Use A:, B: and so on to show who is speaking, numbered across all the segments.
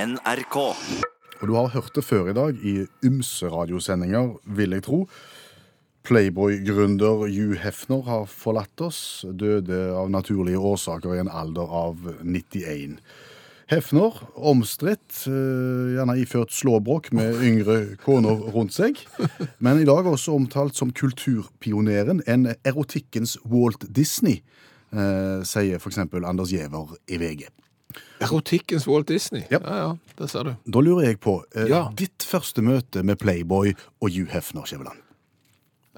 A: NRK.
B: Og du har hørt det før i dag i ymse radiosendinger, vil jeg tro. Playboy-gründer Hugh Hefner har forlatt oss, døde av naturlige årsaker i en alder av 91. Hefner, omstridt, eh, gjerne iført slåbrok med yngre koner rundt seg, men i dag også omtalt som kulturpioneren, en erotikkens Walt Disney, eh, sier f.eks. Anders Giæver i VG.
C: Erotikkens Walt Disney.
B: Ja.
C: ja, ja, det ser du.
B: Da lurer jeg på eh,
C: Ja.
B: ditt første møte med Playboy og Hugh Hefner, Skjæveland.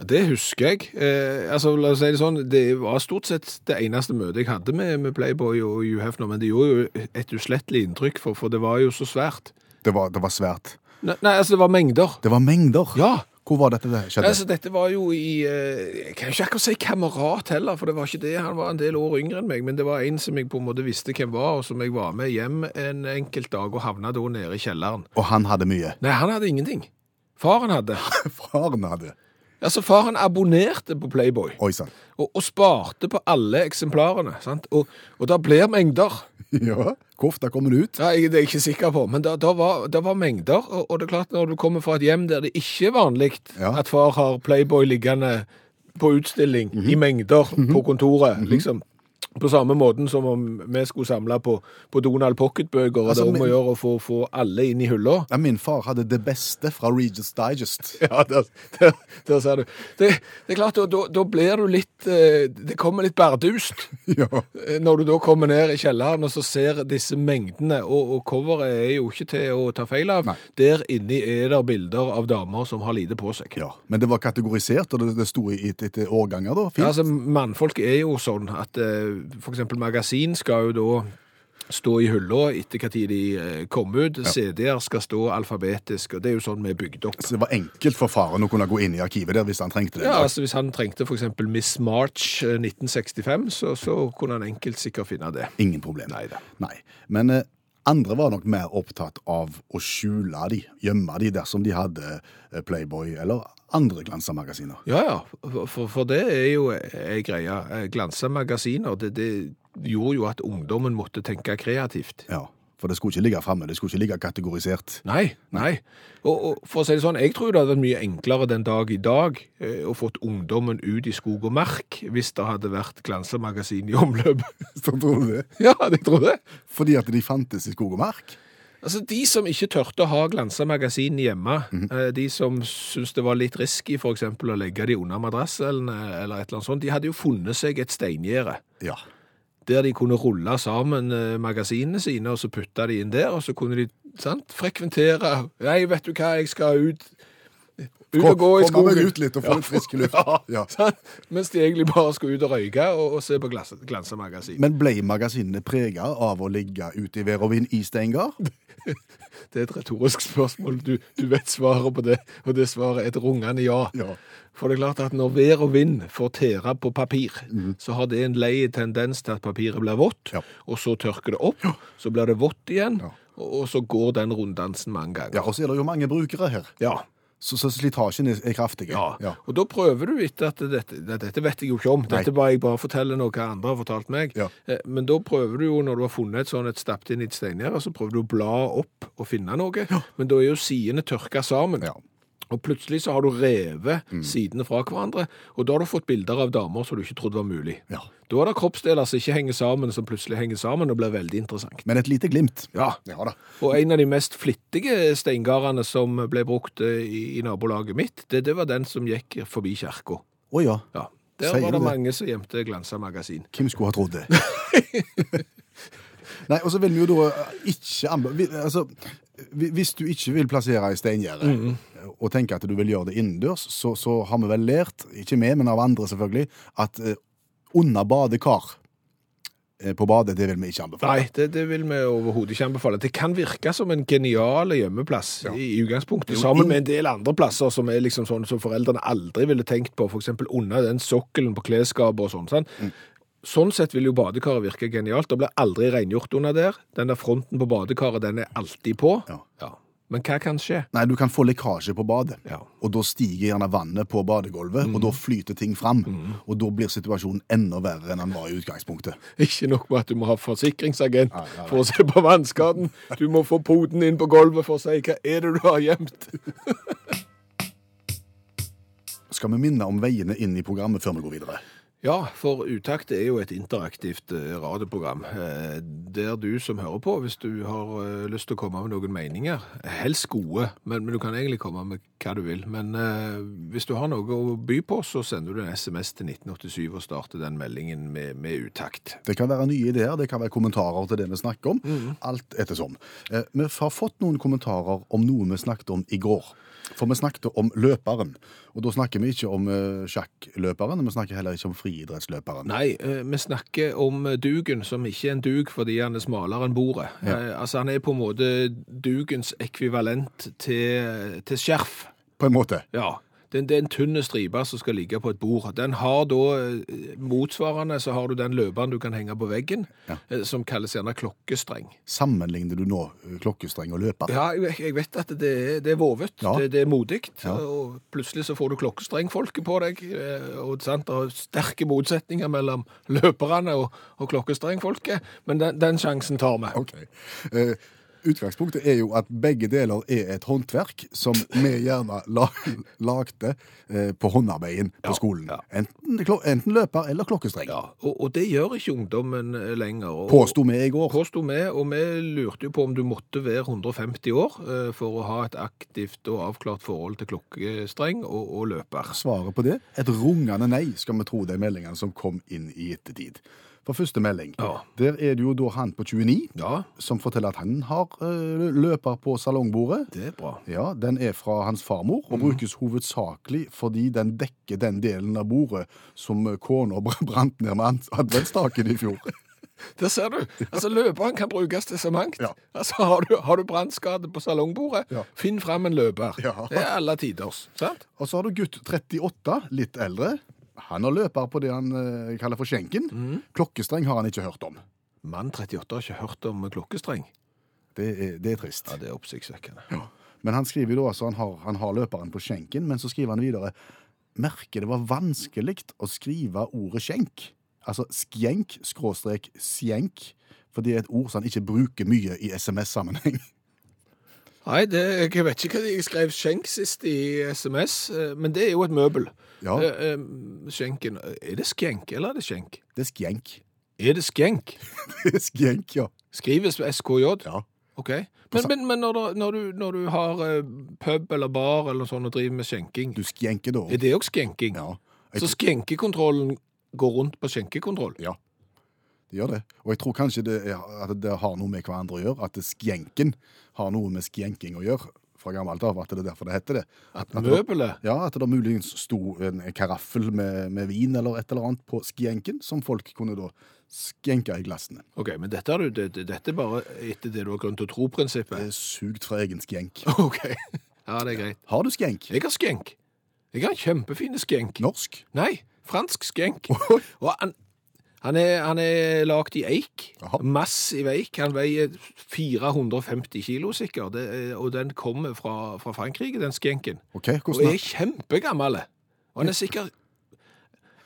C: Det husker jeg. Eh, altså, la oss si Det sånn, det var stort sett det eneste møtet jeg hadde med, med Playboy og Hugh Hefner, men det gjorde jo et uslettelig inntrykk, for, for det var jo så svært.
B: Det var, det var svært.
C: Nei, nei, altså, det var mengder.
B: Det var mengder.
C: Ja.
B: Hvor var dette det skjedde?
C: Altså, dette var jo i eh, Jeg kan jo ikke akkurat si kamerat heller, for det var ikke det. Han var en del år yngre enn meg, men det var en som jeg på en måte visste hvem var, og som jeg var med hjem en enkelt dag, og havna da nede i kjelleren.
B: Og han hadde mye.
C: Nei, han hadde ingenting. Faren hadde.
B: Faren hadde.
C: Altså, faren abonnerte på Playboy.
B: Oi sann.
C: og, og sparte på alle eksemplarene. Sant? Og, og da blir mengder.
B: Ja. Hvor ofte kommer det ut?
C: Ja, jeg, det er jeg ikke sikker på, men da, da, var, da var mengder. Og, og det er klart, når du kommer fra et hjem der det ikke er vanlig
B: Ja.
C: at far har Playboy liggende på utstilling i mengder på kontoret, liksom. På samme måten som om vi skulle samle på, på Donald Pocket-bøker, og
B: Altså,
C: det er om å
B: men-
C: gjøre å få, få alle inn i hylla.
B: Ja, min far hadde det beste fra Regis Digest.
C: Ja, der, der, der ser du. Det, det er klart, da- da da blir du litt eh, Det kommer litt bardust.
B: Ja.
C: Eh, Når du da kommer ned i kjelleren og så ser disse mengdene, og, og coveret er jo ikke til å ta feil av,
B: Nei.
C: der inni er det bilder av damer som har lite på seg.
B: ja. Men det var kategorisert, og det, det sto i et- etter årganger, da. Fint.
C: Altså, mannfolk er jo sånn at eh, for eksempel magasin skal jo da stå i hylla etter hva tid de eh, kom ut. CD-er skal stå alfabetisk, og det er jo sånn vi er bygd opp.
B: Så det var enkelt for faren å kunne gå inn i arkivet der hvis han trengte det.
C: Ja, altså Hvis han trengte f.eks. Miss March eh, 1965, så, så kunne han enkelt sikkert finne det.
B: Ingen problem.
C: Neida.
B: Nei. Men eh, andre var nok mer opptatt av å skjule de, gjemme de, dersom de hadde eh, Playboy eller andre glansa magasiner.
C: Ja, ja. For, for det er jo ei greie. Glansa magasiner, det, det gjorde jo at ungdommen måtte tenke kreativt.
B: Ja, for det skulle ikke ligge framme, det skulle ikke ligge kategorisert.
C: Nei, nei. Og, og for å si det sånn, jeg tror det hadde vært mye enklere den dag i dag eh, å fått ungdommen ut i skog og mark hvis det hadde vært glansemagasin i omløp.
B: Så tror du det?
C: ja, jeg tror det.
B: Fordi at de fantes i skog og mark?
C: Altså, De som ikke tørte å ha glansemagasin hjemme, eh, de som syntes det var litt risky for eksempel å legge de under madrassen eh, eller et eller annet sånt, de hadde jo funnet seg et steingjerde.
B: Ja.
C: der de kunne rulle sammen eh, magasinene sine, og så putta de inn der, og så kunne de sant, frekventere Nei, vet du hva, jeg skal ut Ut og gå i
B: Kom- Komme meg
C: skogen.
B: ut litt og få litt frisk luft. Ja.
C: Sant? Mens de egentlig bare skulle ut og røyke og, og se på glas- glansemagasin.
B: Men ble magasinene prega av å ligge ute i vær og vind i steingard?
C: Det er et retorisk spørsmål. Du, du vet svaret på det, og det svaret er et rungende ja.
B: Ja.
C: For det er klart at når vær og vind får tære på papir, så har det en lei tendens til at papiret blir vått,
B: Mhm. Ja.
C: og så tørker det opp, så blir det vått igjen,
B: Ja.
C: og, og så går den runddansen mange ganger.
B: Ja, og så er det jo mange brukere her,
C: Ja.
B: så, så slitasjen er, er kraftig.
C: Ja. og da prøver du etter at dette, det- dette vet jeg jo ikke om, dette bare jeg bare forteller noe hva andre har fortalt meg,
B: Ja.
C: Eh, men da prøver du jo når du har funnet et sånn et stappet inn i et steingjerde, så prøver du å bla opp og finne noe, men da er jo sidene tørka sammen.
B: Ja.
C: Og plutselig så har du revet sidene fra hverandre, og da har du fått bilder av damer som du ikke trodde var mulig.
B: Ja.
C: Da er det kroppsdeler som ikke henger sammen, som plutselig henger sammen og blir veldig interessant.
B: Men et lite glimt.
C: Ja.
B: ja da.
C: Og en av de mest flittige steingardene som ble brukt eh, i, i nabolaget mitt, det, det var den som gikk forbi kirka.
B: Å ja.
C: Ja. Der
B: Sier du
C: var det
B: det?
C: mange som gjemte glansa magasin.
B: Hvem skulle ha trodd det? Nei, og så vil vi jo da eh, ikke anbe- vi- Altså, hvi- hvis du ikke vil plassere i steingjerde,
C: Mm.
B: og tenker at du vil gjøre det innendørs, så, så har vi vel lært, ikke vi, men av andre selvfølgelig, at eh, under badekar eh, på badet, det vil vi ikke anbefale.
C: Nei, det, det vil vi overhodet ikke anbefale. Det kan virke som en genial gjemmeplass i, i utgangspunktet, sammen med en del andre plasser som er liksom sånn som foreldrene aldri ville tenkt på, f.eks. under den sokkelen på klesskapet og sånn. sant?
B: Mm.
C: Sånn sett vil jo badekaret virke genialt. Det blir aldri rengjort under der. Den der fronten på badekaret, den er alltid på.
B: Ja.
C: Men hva kan skje?
B: Nei, du kan få lekkasje på badet.
C: Ja.
B: Og da stiger gjerne vannet på badegulvet, og da flyter ting fram. Og da blir situasjonen enda verre enn den var i utgangspunktet.
C: Ikke nok med at du må ha forsikringsagent for å se på vannskaden. Du må få poden inn på gulvet for å si 'hva er det du har gjemt'?
B: Skal vi minne om veiene inn i programmet før vi går videre?
C: Ja, for Utakt er jo et interaktivt eh, radioprogram eh, der du som hører på, hvis du har eh, lyst til å komme med noen meninger, helst gode, men, men du kan egentlig komme med hva du vil. Men eh, hvis du har noe å by på, så sender du en SMS til 1987 og starter den meldingen med, med Utakt.
B: Det kan være nye ideer, det kan være kommentarer til det vi snakker om.
C: Mm.
B: Alt ettersom. Eh, vi har fått noen kommentarer om noe vi snakket om i går. For vi snakket om løperen. Og da snakker vi ikke om eh, sjakkløperen, vi snakker heller ikke om friidrettsløperen.
C: Nei, eh, vi snakker om eh, dugen som ikke er en dug fordi han er smalere enn bordet. Eh, Altså han er på en måte dugens ekvivalent til, eh, til skjerf.
B: På en måte.
C: Ja. Det, det er en tynne stripe som skal ligge på et bord. Den har da eh, motsvarende så har du den løperen du kan henge på veggen, eh, som kalles gjerne klokkestreng.
B: Sammenligner du nå eh, klokkestreng og løper?
C: Ja, jeg, jeg vet at det er, det er vovet,
B: Ja.
C: det, det er modikt,
B: Ja.
C: og plutselig så får du klokkestrengfolket på deg, eh, og sant, det er sterke motsetninger mellom løperne og, og klokkestrengfolket, men den, den sjansen tar vi.
B: Ok. Eh, utgangspunktet er jo at begge deler er et håndverk som vi gjerne la lagde eh, på håndarbeidet på
C: Ja,
B: skolen.
C: ja.
B: Enten, klo- enten løper eller klokkestreng.
C: Ja, og, og det gjør ikke ungdommen eh, lenger. Og,
B: Påsto vi i går.
C: påsto vi, og vi lurte jo på om du måtte være 150 år eh, for å ha et aktivt og avklart forhold til klokkestreng og, og løper.
B: Svaret på det et rungende nei, skal vi tro de meldingene som kom inn i ettertid. For første melding,
C: Ja.
B: der er det jo da han på 29
C: Ja,
B: som forteller at han har eh, løper på salongbordet.
C: det er bra.
B: Ja, Den er fra hans farmor og brukes hovedsakelig fordi den dekker den delen av bordet som eh, kona br- brant ned med ans- adventstaken i fjor.
C: Der ser du. Altså, Løperen kan brukes til så mangt.
B: Ja.
C: Altså, Har du, har du brannskade på salongbordet,
B: Ja.
C: finn fram en løper.
B: Ja.
C: Det er alle tiders. sant?
B: Og så har du gutt 38, litt eldre. Han har løper på det han eh, kaller for skjenken. Klokkestreng har han ikke hørt om.
C: Mann 38 har ikke hørt om klokkestreng.
B: Det er, det er trist.
C: Ja, Det er oppsiktsvekkende.
B: Men han skriver jo da altså han har, han har løperen på skjenken, men så skriver han videre Merker det var vanskelig å skrive ordet skjenk. Altså skjenk skråstrek skjenk. For det er et ord som han ikke bruker mye i SMS-sammenheng.
C: Nei, det, jeg vet ikke hva jeg skrev skjenk sist i SMS, eh, men det er jo et møbel.
B: Ja.
C: Eh, eh, Skjenken Er det skjenk, eller er det skjenk?
B: Det er skjenk.
C: Er det skjenk?
B: Det er skjenk, ja.
C: Skrives med SKJ?
B: Ja.
C: Ok. Men, men, men når, du- når, du, når du har eh, pub eller bar eller noe sånt og driver med skjenking,
B: Du skjenker da.
C: er det òg skjenking?
B: Ja,
C: Så skjenkekontrollen går rundt på skjenkekontroll?
B: Ja. det gjør det. Og jeg tror kanskje det, er, at det har noe med hverandre å gjøre, at det skjenken har noe med skjenking å gjøre fra gammelt av, at det er derfor det heter det. At, at det,
C: Møbelet?
B: ja, at det da muligens sto en karaffel med, med vin eller et eller annet på skjenken, som folk kunne da skjenke i glassene.
C: Ok, men dette er, du, det- det- dette er bare etter det du har grunn til å
B: Det
C: tro-prinsippet?
B: er Sugd fra egen skjenk.
C: Ok. Ja, det er greit.
B: Har du skjenk?
C: Jeg har skjenk. Jeg har en kjempefin skjenk.
B: Norsk?
C: Nei, fransk skjenk. Og han, han er, han er lagd i eik.
B: Jaha.
C: Massiv eik. Han veier 450 kilo sikkert, det, er- og den kommer fra, fra Frankrike, den skjenken.
B: Ok,
C: Og
B: hvordan
C: er kjempegammel. Og han er sikkert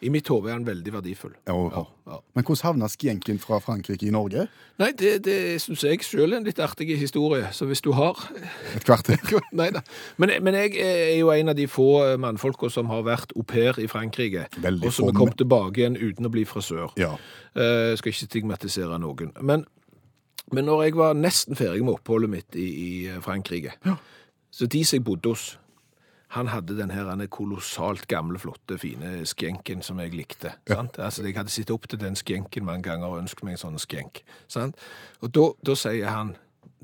C: I mitt hode er han veldig verdifull.
B: Jaha.
C: Ja.
B: Men hvordan havna skjenken fra Frankrike i Norge?
C: Nei, det, det syns jeg sjøl er en litt artig historie, så hvis du har
B: Et kvarter.
C: Nei da. Men, men jeg er jo en av de få mannfolka som har vært au pair i Frankrike,
B: Veldig
C: og som
B: få
C: er kommet tilbake igjen uten å bli frisør.
B: Ja.
C: Eh, skal ikke stigmatisere noen. Men, men når jeg var nesten ferdig med oppholdet mitt i, i Frankrike, så de som jeg bodde hos han hadde den her han er kolossalt gamle, flotte, fine skjenken som jeg likte. Sant? Altså, Jeg hadde sittet opp til den skjenken mange ganger og ønsket meg en sånn skjenk. Sant? Og da, da sier han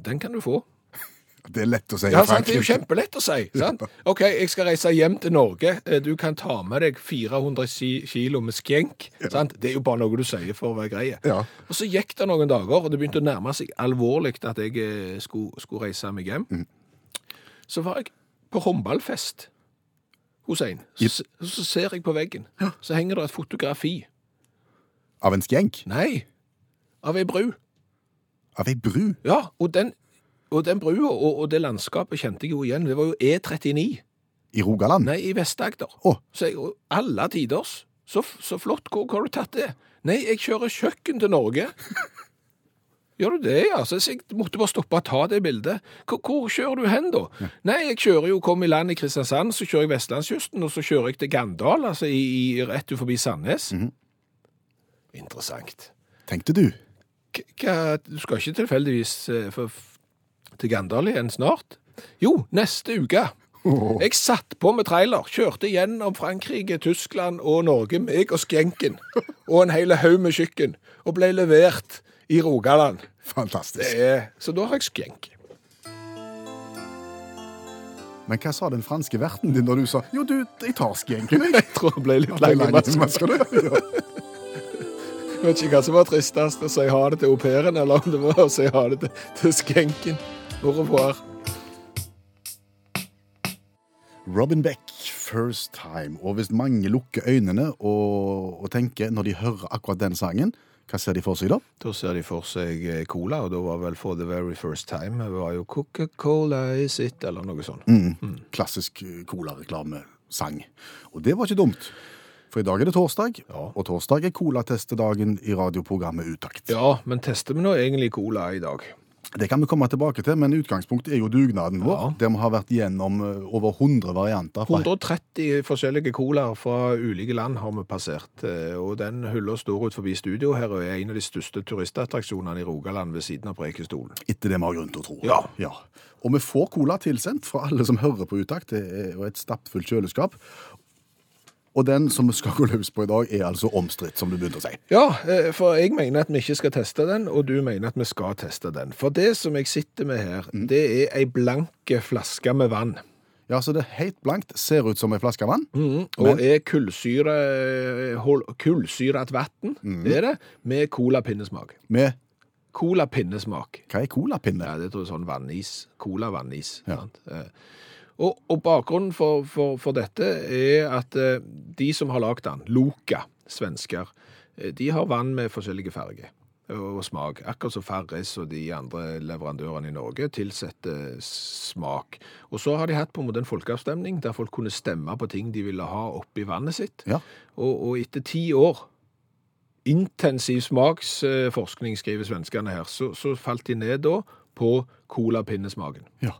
C: den kan du få.
B: Det er lett å si i
C: Ja, sant? Det er jo
B: Frankrike.
C: kjempelett å si. Sant? OK, jeg skal reise hjem til Norge. Eh, Du kan ta med deg 400 ki- kilo med skjenk. Sant? Det er jo bare noe du sier for å være grei.
B: Ja.
C: Og så gikk det noen dager, og det begynte å nærme seg alvorlig at jeg eh, skulle, skulle reise meg hjem. Så var jeg på håndballfest hos en. Så, s- så ser jeg på veggen, så henger det et fotografi.
B: Av en skjenk?
C: Nei, av ei bru.
B: Av ei bru?
C: Ja, og den Og den brua og, og det landskapet kjente jeg jo igjen. Det var jo E39.
B: I Rogaland?
C: Nei, i Vest-Agder.
B: Å.
C: Så jeg, og alle tiders. Så, f- så flott. Hvor, hvor har du tatt det? Nei, jeg kjører kjøkken til Norge. Gjør du det, ja? Så jeg måtte bare stoppe og ta det bildet. Hvor, hvor kjører du hen, da? Nei, jeg kjører jo, kom i land i Kristiansand, så kjører jeg Vestlandskysten, og så kjører jeg til Gandal, altså i, i, rett ut forbi Sandnes. Interessant.
B: Tenkte du.
C: K- Hva, du skal ikke tilfeldigvis eh, for, til Gandal igjen snart? Jo, neste uke. Jeg satt på med trailer, kjørte gjennom Frankrike, Tyskland og Norge, meg og skjenken, og en hel haug med kjøkken, og ble levert i Rogaland. Det
B: Fantastisk.
C: er, så da har jeg skjenk.
B: Men hva sa den franske verten din når du sa jo, du, jeg tar skjenken, jeg.
C: Jeg tror jeg ble litt lei
B: Lang
C: meg. Jeg
B: masker, du. Ja.
C: vet ikke hva som var tristest, å si ha det til au pairen, eller om det var å si ha det til, til skjenken. Au revoir.
B: Robin Beck, First Time. Og hvis mange lukker øynene og, og tenker når de hører akkurat den sangen, hva ser de for seg da?
C: Da ser de for seg eh, cola, og da var vel for the very first time det var jo Coca-Cola is it, eller noe sånt.
B: Klassisk eh, colareklamesang. Og det var ikke dumt. For i dag er det torsdag,
C: Ja.
B: og torsdag er colatestedagen i radioprogrammet Utakt.
C: Ja, men tester vi nå egentlig cola i dag?
B: Det kan vi komme tilbake til, men utgangspunktet er jo dugnaden vår, der vi har vært gjennom eh, over 100 varianter. Fra,
C: 130 forskjellige colaer fra ulike land har vi passert, eh, og den hylla står ut forbi studio her og er en av de største turistattraksjonene i Rogaland ved siden av Preikestolen.
B: etter det vi har grunn til å tro.
C: Ja.
B: Ja. Og vi får cola tilsendt fra alle som hører på Utakt, det er jo et stappfullt kjøleskap. Og den som vi skal gå løs på i dag, er altså omstridt, som du begynte å si.
C: Ja, eh, for jeg mener at vi ikke skal teste den, og du mener at vi skal teste den. For det som jeg sitter med her, det er ei blanke flaske med vann,
B: Ja, så det er helt blankt, ser ut som ei flaske vann.
C: og er kullsyre, eh, hol- kullsyret vann, det er det, med colapinnesmak.
B: Med
C: Colapinnesmak.
B: hva er colapinne?
C: Ja, det tror jeg sånn vannis. Cola-vannis.
B: Ja.
C: sant? Eh, Og, og bakgrunnen for, for, for dette er at eh, de som har lagd den, Loka, svensker, eh, de har vann med forskjellige farger og smak. Akkurat som Farris og de andre leverandørene i Norge tilsetter smak. Og så har de hatt på en måte en folkeavstemning der folk kunne stemme på ting de ville ha oppi vannet sitt.
B: Ja.
C: Og, og etter ti år intensiv smaksforskning, skriver svenskene her, så, så falt de ned da på colapinnesmaken.
B: Ja.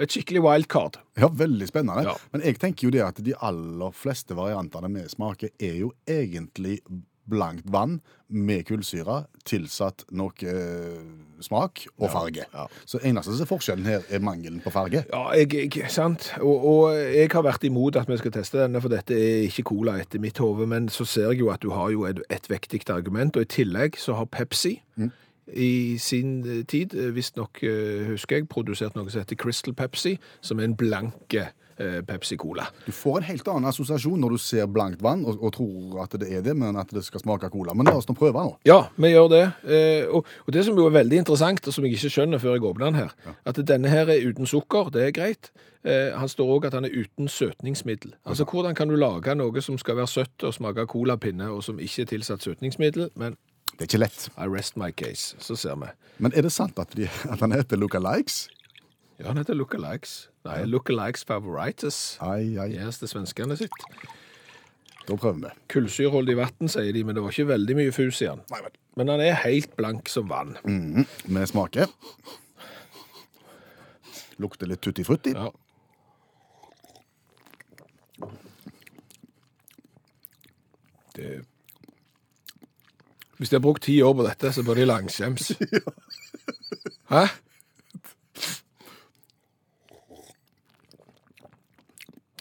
C: Et skikkelig wildcard.
B: ja, veldig spennende.
C: Ja.
B: Men jeg tenker jo det at de aller fleste variantene vi smaker, er jo egentlig blankt vann med kullsyre tilsatt noe eh, smak og farge.
C: ja.
B: Så eneste som er forskjellen her, er mangelen på farge.
C: Ja, jeg, jeg, sant? Og, og jeg har vært imot at vi skal teste denne, for dette er ikke cola etter mitt hode, men så ser jeg jo at du har jo et, et vektig argument, og i tillegg så har Pepsi i sin eh, tid, visstnok eh, husker jeg, produsert noe som heter Crystal Pepsi, som er en blanke eh, Pepsi-cola.
B: Du får en helt annen assosiasjon når du ser blankt vann og, og tror at det er det, men at det skal smake cola. Men la oss nå prøve nå.
C: Ja, vi gjør det. Eh, og, og det som jo er veldig interessant, og som jeg ikke skjønner før jeg åpner den her, at denne her er uten sukker, det er greit. Eh, han står òg at han er uten søtningsmiddel. Altså hvordan kan du lage noe som skal være søtt og smake colapinne, og som ikke er tilsatt søtningsmiddel? Men
B: Det er ikke lett.
C: I rest my case, så ser vi.
B: Men er det sant at, de, at han heter Lookalikes?
C: Ja, han heter Lookalikes. Nei, Lookalikes Favoritis.
B: Ai, ai.
C: Yes, det er svenskene sitt.
B: Da prøver vi.
C: Kullsyrholdig vann, sier de, men det var ikke veldig mye fus i han.
B: Nei vel.
C: Men han er helt blank som vann.
B: Mhm. Vi smaker. Lukter litt tutti-frutti.
C: Ja. Det... Hvis de har brukt ti år på dette, så bør de langskjems. Hæ?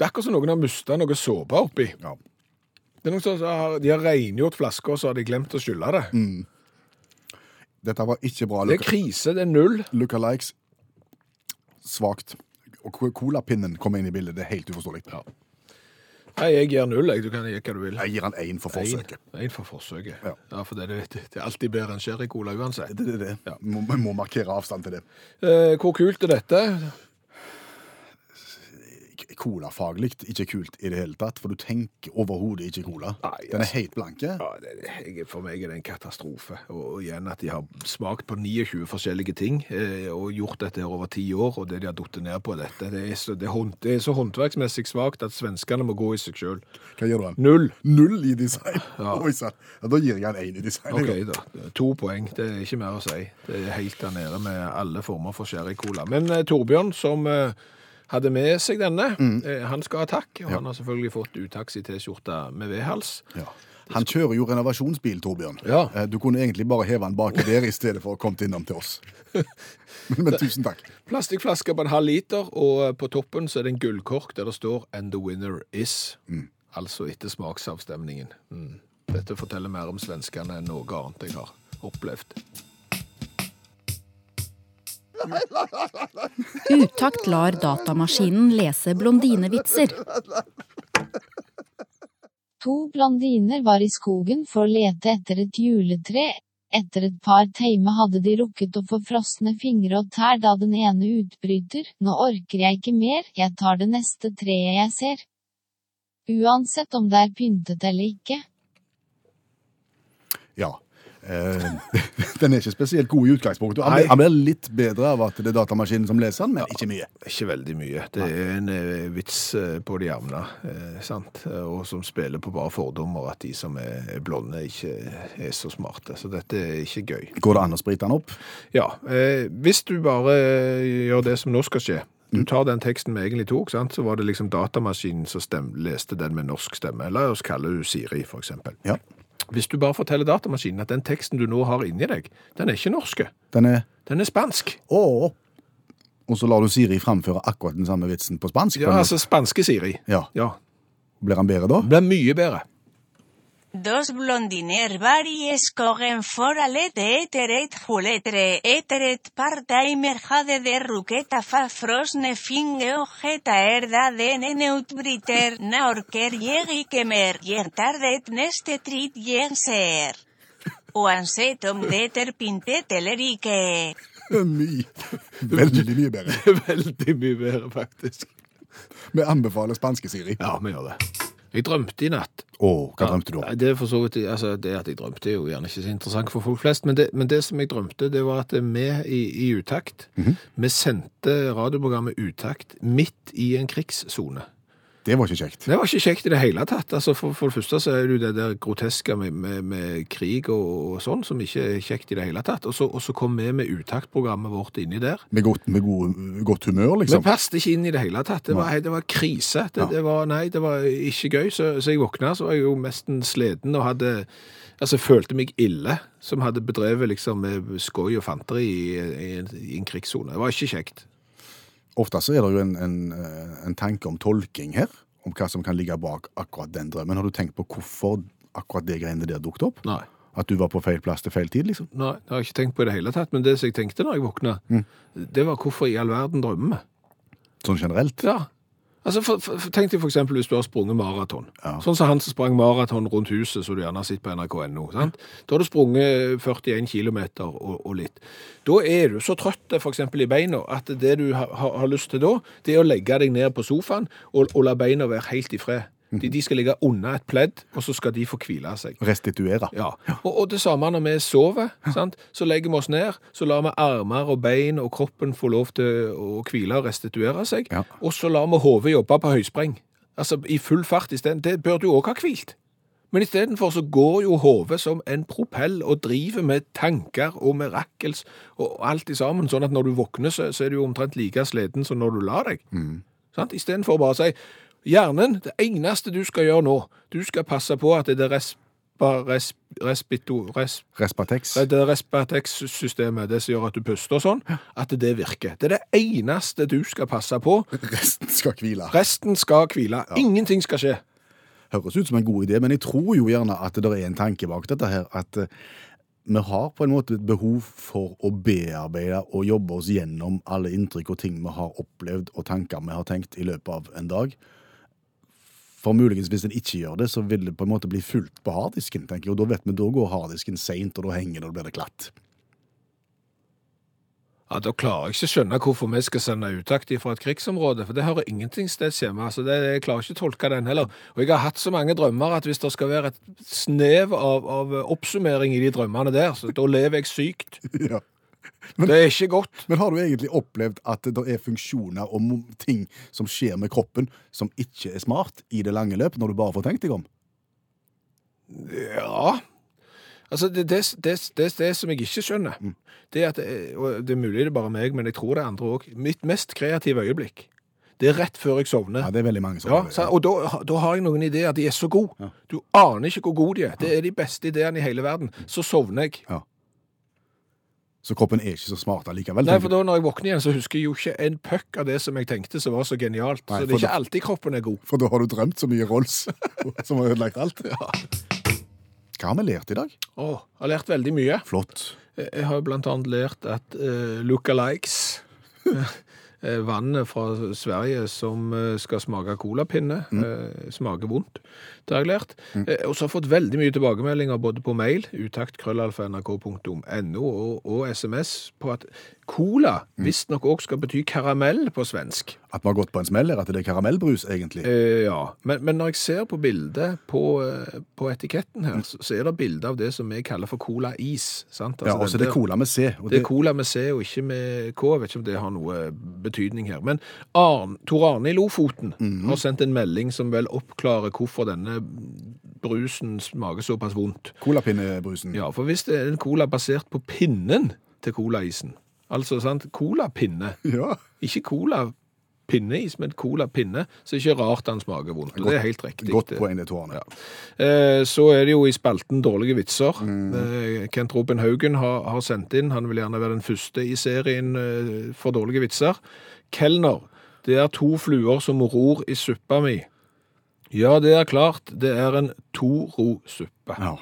C: Det er akkurat som noen har mista noe såpe oppi.
B: Ja.
C: Det er noen som har, De har rengjort flasker, og så har de glemt å skylle det.
B: Dette var ikke bra.
C: Det er krise, det er null.
B: Lookalikes svakt. Og co- colapinnen kommer inn i bildet. Det er helt uforståelig.
C: Nei, jeg gir null. Jeg. Du kan gi hva du vil.
B: Jeg gir han én for forsøket.
C: En for forsøket.
B: Ja.
C: Ja, for det, det, det er alltid bedre enn sherrycola uansett.
B: Det er det. Må, vi må markere avstand til det.
C: Eh, hvor kult er dette?
B: K- colafaglig ikke kult i det hele tatt, for du tenker overhodet ikke cola.
C: Nei,
B: Den er
C: altså.
B: helt blanke.
C: Ja, det, jeg, for meg er det en katastrofe. Og, og igjen at de har smakt på 29 forskjellige ting eh, og gjort dette her over ti år, og det de har datt ned på dette det er, så, det, er hånd, det er så håndverksmessig svakt at svenskene må gå i seg sjøl.
B: Hva gir du den?
C: Null.
B: Null i design.
C: Ja.
B: Oi sann. Ja, da gir jeg den én i design.
C: OK, da. To poeng. Det er ikke mer å si. Det er helt der nede med alle former for sherrycola. Men eh, Torbjørn, som eh, hadde med seg denne, eh, han skal ha takk. Og han har selvfølgelig fått utakks i T-skjorte med vedhals.
B: Ja. Han kjører jo renovasjonsbil, Torbjørn.
C: Ja.
B: Eh, Du kunne egentlig bare heve han baki der i stedet for å komme innom til oss. Men, men tusen takk.
C: Plastikkflaske på en halv liter, og eh, på toppen så er det en gullkork der det står 'And the winner is'. Altså etter smaksavstemningen. Mm. Dette forteller mer om svenskene enn noe annet jeg har opplevd.
A: Utakt lar datamaskinen lese blondinevitser.
D: To blondiner var i skogen for å lete etter et juletre. Etter et par timer hadde de rukket å få frosne fingre og tær da den ene utbryter, nå orker jeg ikke mer, jeg tar det neste treet jeg ser. Uansett om det er pyntet eller ikke.
B: Ja. Eh, den er ikke spesielt god i utgangspunktet. Han
C: Nei.
B: blir- Han blir litt bedre av at det er datamaskinen som leser den, men ikke mye.
C: Ikke veldig mye. Det er en eh, vits eh, på det jevne, eh, sant? Og som spiller på bare fordommer at de som er er blonde, ikke er så smarte. Så dette er ikke gøy.
B: Går det an å sprite den opp?
C: Ja, eh, hvis du bare eh, gjør det som nå skal skje, du tar den teksten vi egentlig tok, sant? så var det liksom datamaskinen som stem, leste den med norsk stemme. La oss kalle du Siri, for eksempel.
B: Ja.
C: Hvis du bare forteller datamaskinen at den teksten du nå har inni deg, den er ikke norske,
B: Den er
C: den er spansk.
B: å, å. Og så lar du Siri framføre akkurat den samme vitsen på spansk. på
C: Ja,
B: en måte.
C: altså spanske Siri.
B: ja.
C: Ja,
B: Blir han bedre da?
C: det blir mye bedre.
E: Dos blondiner varies corren for a lete eteret juletre eteret part-timer jade de ruqueta fa frosne finge ojeta erda den en utbriter na orker jegi kemer jeg tardet neste trit jenser. Oanset om deter pintet elerike.
B: Mye. Veldig mye bedre.
C: Veldig mye bedre, faktisk.
B: Vi anbefaler spanske Siri.
C: Ja, vi gjør det. Jeg drømte i natt
B: Å, hva drømte du om?
C: Nei, det, er for så vidt, altså, det at jeg drømte er jo gjerne ikke så interessant for folk flest, men det, men det som jeg drømte, det var at vi i, i Utakt,
B: Mhm.
C: vi sendte radioprogrammet Utakt midt i en krigssone.
B: Det var ikke kjekt.
C: Det var ikke kjekt i det hele tatt. Altså, for, for det første så er det jo det der groteske med, med, med krig og, og sånn, som ikke er kjekt i det hele tatt. Og så, og så kom vi med Utakt-programmet vårt inni der.
B: Med godt, med god, godt humør, liksom.
C: Vi passet ikke inn i det hele tatt. Det var, det var krise. Det, det var, nei, det var ikke gøy. Så, så jeg våkna, så var jeg jo mesten sliten og hadde Altså, følte meg ille, som hadde bedrevet liksom eh, skoj og fanteri i, i, i en krigssone. Det var ikke kjekt.
B: Ofte så er det jo en, en, eh, en tanke om tolking her, om hva som kan ligge bak akkurat den drømmen. Har du tenkt på hvorfor akkurat det greiene der dukket opp?
C: Nei.
B: At du var på feil plass til feil tid, liksom?
C: Nei, det har jeg ikke tenkt på i det hele tatt. Men det som jeg tenkte da jeg våkna, det var hvorfor i all verden drømmer vi?
B: Sånn generelt?
C: Ja. Altså, for, for, for, tenk deg for eksempel hvis du har sprunget maraton.
B: Ja.
C: Sånn som han som sprang maraton rundt huset, som du gjerne har sett på NRK.no. sant? Da har du sprunget 41 km og, og litt. Da er du så trøtt for eksempel i beina at det du har, har, har lyst til da, det er å legge deg ned på sofaen og, og la beina være helt i fred. De, de skal ligge unna et pledd, og så skal de få hvile seg.
B: Restituere.
C: Ja, og, og det samme når vi sover, sant? så legger vi oss ned, så lar vi armer og bein og kroppen få lov til å hvile og restituere seg,
B: Ja.
C: og så lar vi hodet jobbe på høyspreng. Altså i full fart i stedet. Det bør du òg ha hvilt. Men istedenfor så går jo hodet som en propell og driver med tanker og mirakels og alt i sammen, sånn at når du våkner, så, så er du jo omtrent like sliten som når du la deg. Sant? Istedenfor å bare si hjernen, det eneste du skal gjøre nå, du skal passe på at det der respa, res, respito, res,
B: Respatex.
C: det der respatex-systemet, det som gjør at du puster og sånn, at det virker. Det er det eneste du skal passe på.
B: Resten skal hvile.
C: Resten skal hvile. Ingenting skal skje.
B: Høres ut som en god idé, men jeg tror jo gjerne at det er en tanke bak dette her, at eh, vi har på en måte et behov for å bearbeide og jobbe oss gjennom alle inntrykk og ting vi har opplevd og tanker vi har tenkt i løpet av en dag. For muligens hvis en ikke gjør det, så vil det på en måte bli fullt på harddisken, tenker jeg, og da vet vi, da går harddisken seint, og da henger det, og da blir det glatt.
C: Ja, Da klarer jeg ikke å skjønne hvorfor vi skal sende utakt fra et krigsområde, for det hører ingenting steds hjemme. altså det, Jeg klarer ikke å tolke den heller. Og jeg har hatt så mange drømmer at hvis det skal være et snev av, av oppsummering i de drømmene der, så da lever jeg sykt.
B: Ja.
C: Det er ikke godt.
B: Men har du egentlig opplevd at det er funksjoner og mo- ting som skjer med kroppen som ikke er smart i det lange løp, når du bare får tenkt deg om?
C: Ja. Altså, det, det, det, det, det som jeg ikke skjønner, det er at eh, og Det er mulig det er bare meg, men jeg tror det er andre òg. Mitt mest kreative øyeblikk, det er rett før jeg sovner.
B: Ja, det er veldig mange som
C: Ja,
B: har det.
C: sa- og da, da har jeg noen ideer. De er så gode.
B: eh, Ja.
C: Du aner ikke hvor gode de er. Det er de beste ideene i hele verden. Så sovner jeg.
B: Så kroppen er ikke så smart allikevel.
C: Nei,
B: tenker
C: for da når jeg våkner igjen, så husker jeg jo ikke en puck av det som jeg tenkte som var så genialt.
B: Nei,
C: så det er
B: for
C: ikke alltid kroppen er god.
B: For da har du drømt så mye Rolls som har ødelagt alt. Hva har vi lært i dag?
C: Åh, jeg har lært veldig mye.
B: Flott.
C: Jeg Eh, jeg har jo blant annet lært at uh, lookalikes eh, Vannet fra Sverige som eh, skal smake colapinne,
B: Mm.
C: eh, smaker vondt. Det har jeg lært. Eh, og så har jeg fått veldig mye tilbakemeldinger både på mail, utakt.krøllalfa.nrk.no og, og SMS på at cola
B: Mm.
C: visstnok òg skal bety karamell på svensk.
B: At vi har gått på en smell her, at det er karamellbrus, egentlig.
C: Eh, ja, men, men når jeg ser på bildet på, eh, på etiketten her, så, så er det bilde av det som vi kaller for colais. sant?
B: ja,
C: Altså
B: og så er det
C: den der-
B: cola med C. Og
C: det
B: det,
C: er cola med C og ikke med K. Jeg vet ikke om det har noe eh, betydning her. Men Arn, Tor Arne i Lofoten
B: Mhm.
C: har sendt en melding som vel oppklarer hvorfor denne brusen smaker såpass vondt.
B: Colapinnebrusen.
C: Ja, for hvis det er en cola basert på pinnen til colaisen, altså sant, colapinne,
B: Ja.
C: ikke cola pinneis, men cola pinne, så er det ikke rart den smaker vondt. Og det er helt riktig.
B: Godt
C: Det-
B: poeng, det, Tårne.
C: ja. Eh, Så er det jo i spalten dårlige vitser.
B: Mm.
C: Eh, Kent Robin Haugen har, har sendt inn, han vil gjerne være den første i serien eh, for dårlige vitser. Kellner, det er to fluer som ror i suppa mi. Ja, det er klart, det er en Toro-suppe.
B: Ja.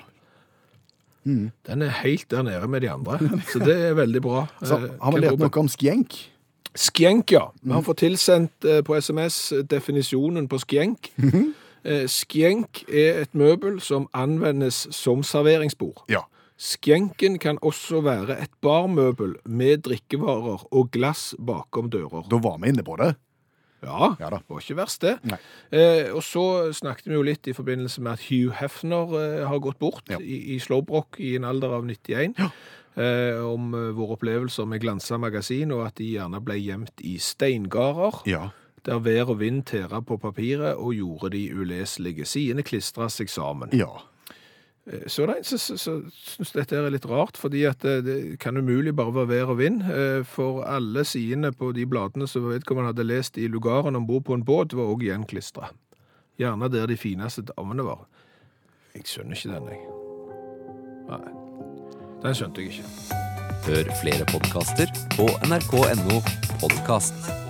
C: Den er helt der nede med de andre, så det er veldig bra.
B: Så
C: eh,
B: har vi lært Mm.
C: Kent Robin.
B: noe om skjenk.
C: Skjenk, ja. Vi har fått tilsendt eh, på SMS definisjonen på skjenk.
B: Mhm.
C: Eh, Skjenk er et møbel som anvendes som serveringsbord.
B: Ja.
C: Skjenken kan også være et barmøbel med drikkevarer og glass bakom dører.
B: Da var vi inne på det.
C: Ja,
B: Ja da.
C: det var ikke verst det.
B: Nei.
C: Eh, og så snakket vi jo litt i forbindelse med at Hugh Hefner eh, har gått bort
B: Ja.
C: i, i Slåbrok i en alder av 91. Eh, om eh, våre opplevelser med Glansa magasin, og at de gjerne ble gjemt i steingarder.
B: Ja.
C: Der vær og vind tæra på papiret og gjorde de uleselige. Sidene klistra seg sammen.
B: Ja.
C: Eh, Så er det en som som- som syns dette er litt rart, fordi at det, det kan umulig bare være vær og vind. eh, For alle sidene på de bladene som vedkommende hadde lest i lugaren om bord på en båt, var òg gjenklistra. Gjerne der de fineste damene var. Jeg skjønner ikke den, jeg. Nei. Den skjønte jeg ikke.
F: Hør flere podkaster på nrk.no podkast.